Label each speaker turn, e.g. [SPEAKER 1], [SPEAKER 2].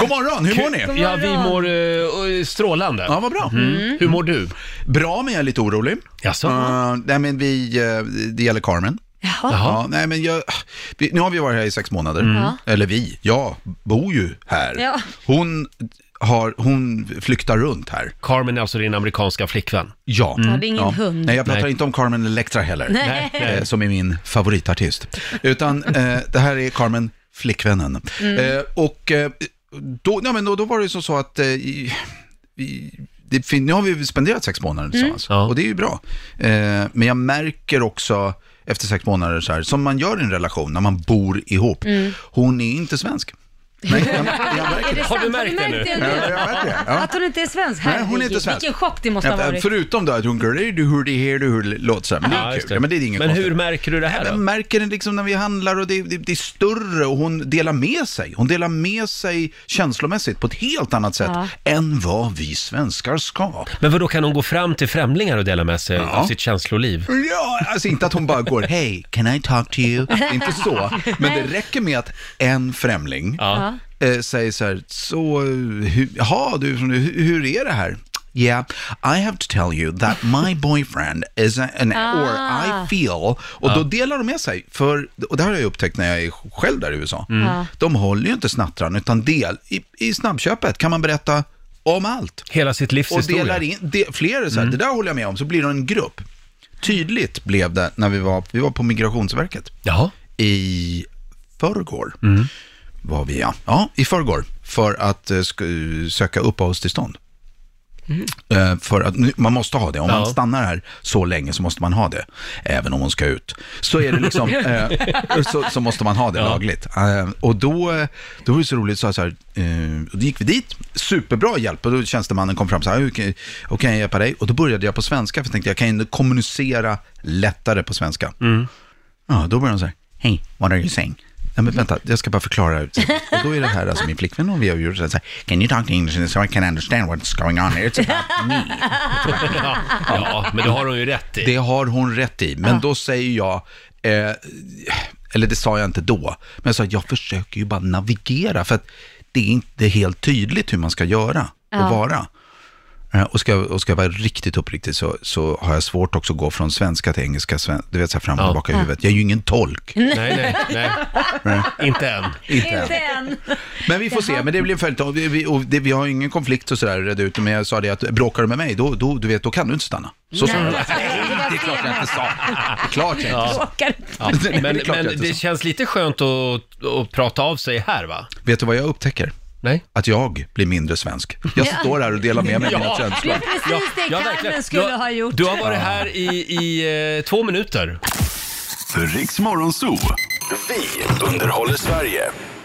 [SPEAKER 1] God morgon, hur mår
[SPEAKER 2] God
[SPEAKER 1] ni?
[SPEAKER 2] morgon. Mm.
[SPEAKER 3] Ja, vi mår eh, strålande. Mm.
[SPEAKER 1] Ja, Mm. vad bra.
[SPEAKER 3] Hur mår du? Mm.
[SPEAKER 1] Bra, men jag är lite orolig.
[SPEAKER 3] Jaså?
[SPEAKER 1] Eh, nej, men vi, eh, det gäller Carmen.
[SPEAKER 2] Jaha.
[SPEAKER 1] Ja, nej, men jag, vi, nu har vi varit här i sex månader.
[SPEAKER 2] Ja.
[SPEAKER 1] Eller vi, jag bor ju här.
[SPEAKER 2] Ja.
[SPEAKER 1] Hon, har, hon flyktar runt här.
[SPEAKER 3] Carmen är alltså din amerikanska flickvän.
[SPEAKER 1] Ja.
[SPEAKER 2] Ja, det är ingen hund.
[SPEAKER 1] Nej, jag pratar
[SPEAKER 3] Nej.
[SPEAKER 1] inte om Carmen Electra heller.
[SPEAKER 2] Nej.
[SPEAKER 3] Nej.
[SPEAKER 1] eh, som är min favoritartist. Utan eh, det här är Carmen, flickvännen.
[SPEAKER 3] Mm.
[SPEAKER 1] Eh, och eh, då, ja, men då, då var det ju som så att eh, i, i, det, fin- nu har vi spenderat sex månader tillsammans
[SPEAKER 3] Mm. Ja.
[SPEAKER 1] och det är ju bra. Eh, men jag märker också efter sex månader, så här, som man gör i en relation när man bor ihop,
[SPEAKER 3] Mm.
[SPEAKER 1] hon är inte svensk. Nej, jag, jag märker
[SPEAKER 2] Är det
[SPEAKER 1] det.
[SPEAKER 3] Har
[SPEAKER 2] sant?
[SPEAKER 3] du märkt det nu?
[SPEAKER 1] Ja, jag märker det. Ja.
[SPEAKER 2] Att hon inte är svensk?
[SPEAKER 1] Nej, hon är
[SPEAKER 2] Herregud,
[SPEAKER 1] inte svensk.
[SPEAKER 2] Vilken chock det måste ha
[SPEAKER 1] Ja,
[SPEAKER 2] varit.
[SPEAKER 1] Förutom då att hon girl, du hur det här, du hur det låter så här. Men det är
[SPEAKER 3] just
[SPEAKER 1] kul. Ja, men det är inget
[SPEAKER 3] men
[SPEAKER 1] konstigt.
[SPEAKER 3] hur märker du det här
[SPEAKER 1] Jag
[SPEAKER 3] då?
[SPEAKER 1] märker det liksom när vi handlar och det, det, det är större och hon delar med sig. Hon delar med sig känslomässigt på ett helt annat sätt
[SPEAKER 2] Ja.
[SPEAKER 1] än vad vi svenskar ska.
[SPEAKER 3] Men vadå, kan hon gå fram till främlingar och dela med sig av sitt känsloliv?
[SPEAKER 1] Ja, alltså inte att hon bara går, hey, can I talk to you? Inte så, men det räcker med att en främling
[SPEAKER 3] Ja.
[SPEAKER 1] eh, säger så här, så, eh, hu- jaha, du, från- hur, hur är det här? Yeah, I have to tell you that my boyfriend is a- an, or I feel, och då delar de med sig, för, och det här har jag upptäckt när jag är själv där i USA,
[SPEAKER 2] Ja.
[SPEAKER 1] de håller ju inte snattran, utan del, i, i snabbköpet kan man berätta om allt.
[SPEAKER 3] Hela sitt livs
[SPEAKER 1] Och
[SPEAKER 3] historia.
[SPEAKER 1] delar in, de, fler är så här, det där håller jag med om, så blir det en grupp. Tydligt blev det när vi var, vi var på Migrationsverket
[SPEAKER 3] Jaha.
[SPEAKER 1] i förrgår. Var vi, ja. ja, i förrgår, för att eh, sk- söka uppehållstillstånd. Eh, för att nu, man måste ha det. Om
[SPEAKER 3] Ja.
[SPEAKER 1] man stannar här så länge så måste man ha det. Även om hon ska ut. Så är det liksom, eh, så, så måste man ha det lagligt. Eh, och då, eh, då var det så roligt, så, här, så här, eh, och då gick vi dit, superbra hjälp. Och då tjänstemannen kom fram så här, hur kan, hur kan jag hjälpa dig? Och då började jag på svenska, för jag tänkte jag kan ju kommunicera lättare på svenska. Ja, då börjar hon så här, hej, what are you saying? Nej men vänta, jag ska bara förklara. Och då är det här alltså min flickvän och vi har gjort så här, can you talk to English so I can understand what's going on? It's about me.
[SPEAKER 3] Ja, men det har hon ju rätt i.
[SPEAKER 1] Det har hon rätt i, men då säger jag, eh, eller det sa jag inte då, men jag sa jag försöker ju bara navigera för att det är inte helt tydligt hur man ska göra och
[SPEAKER 2] Ja.
[SPEAKER 1] vara. Eh, Och ska, och ska jag vara riktigt uppriktig så, så har jag svårt också att gå från svenska till engelska, sven- du vet så här fram och
[SPEAKER 3] Ja.
[SPEAKER 1] tillbaka i huvudet. Jag är ju ingen tolk,
[SPEAKER 3] Nej, nej, nej. Inte än.
[SPEAKER 1] inte än.
[SPEAKER 2] Inte än.
[SPEAKER 1] Men vi får se, men det blir en följetong. Vi, vi, och det, vi har ju ingen konflikt och sådär reda ut, men jag sa det att bråkar du med mig, då, då, du vet, då kan du inte stanna. Så sa hon.
[SPEAKER 2] Nej,
[SPEAKER 1] Det är klart jag inte sa. Det är klart jag inte sa.
[SPEAKER 2] Råkar
[SPEAKER 3] Ja.
[SPEAKER 1] Nej, det är
[SPEAKER 3] Men,
[SPEAKER 1] klart jag
[SPEAKER 3] men
[SPEAKER 1] inte
[SPEAKER 3] det
[SPEAKER 1] sa.
[SPEAKER 3] känns lite skönt att, att prata av sig här, va?
[SPEAKER 1] Vet du vad jag upptäcker?
[SPEAKER 3] Nej?
[SPEAKER 1] Att jag blir mindre svensk. Jag
[SPEAKER 2] Ja.
[SPEAKER 1] står här och delar med mig av mina
[SPEAKER 3] Ja.
[SPEAKER 1] känslor.
[SPEAKER 2] Precis det Carmen
[SPEAKER 3] Du
[SPEAKER 2] skulle
[SPEAKER 3] har-
[SPEAKER 2] ha gjort.
[SPEAKER 3] Du har varit här i, i eh, två minuter.
[SPEAKER 4] Riks Morgonzoo. Vi underhåller Sverige.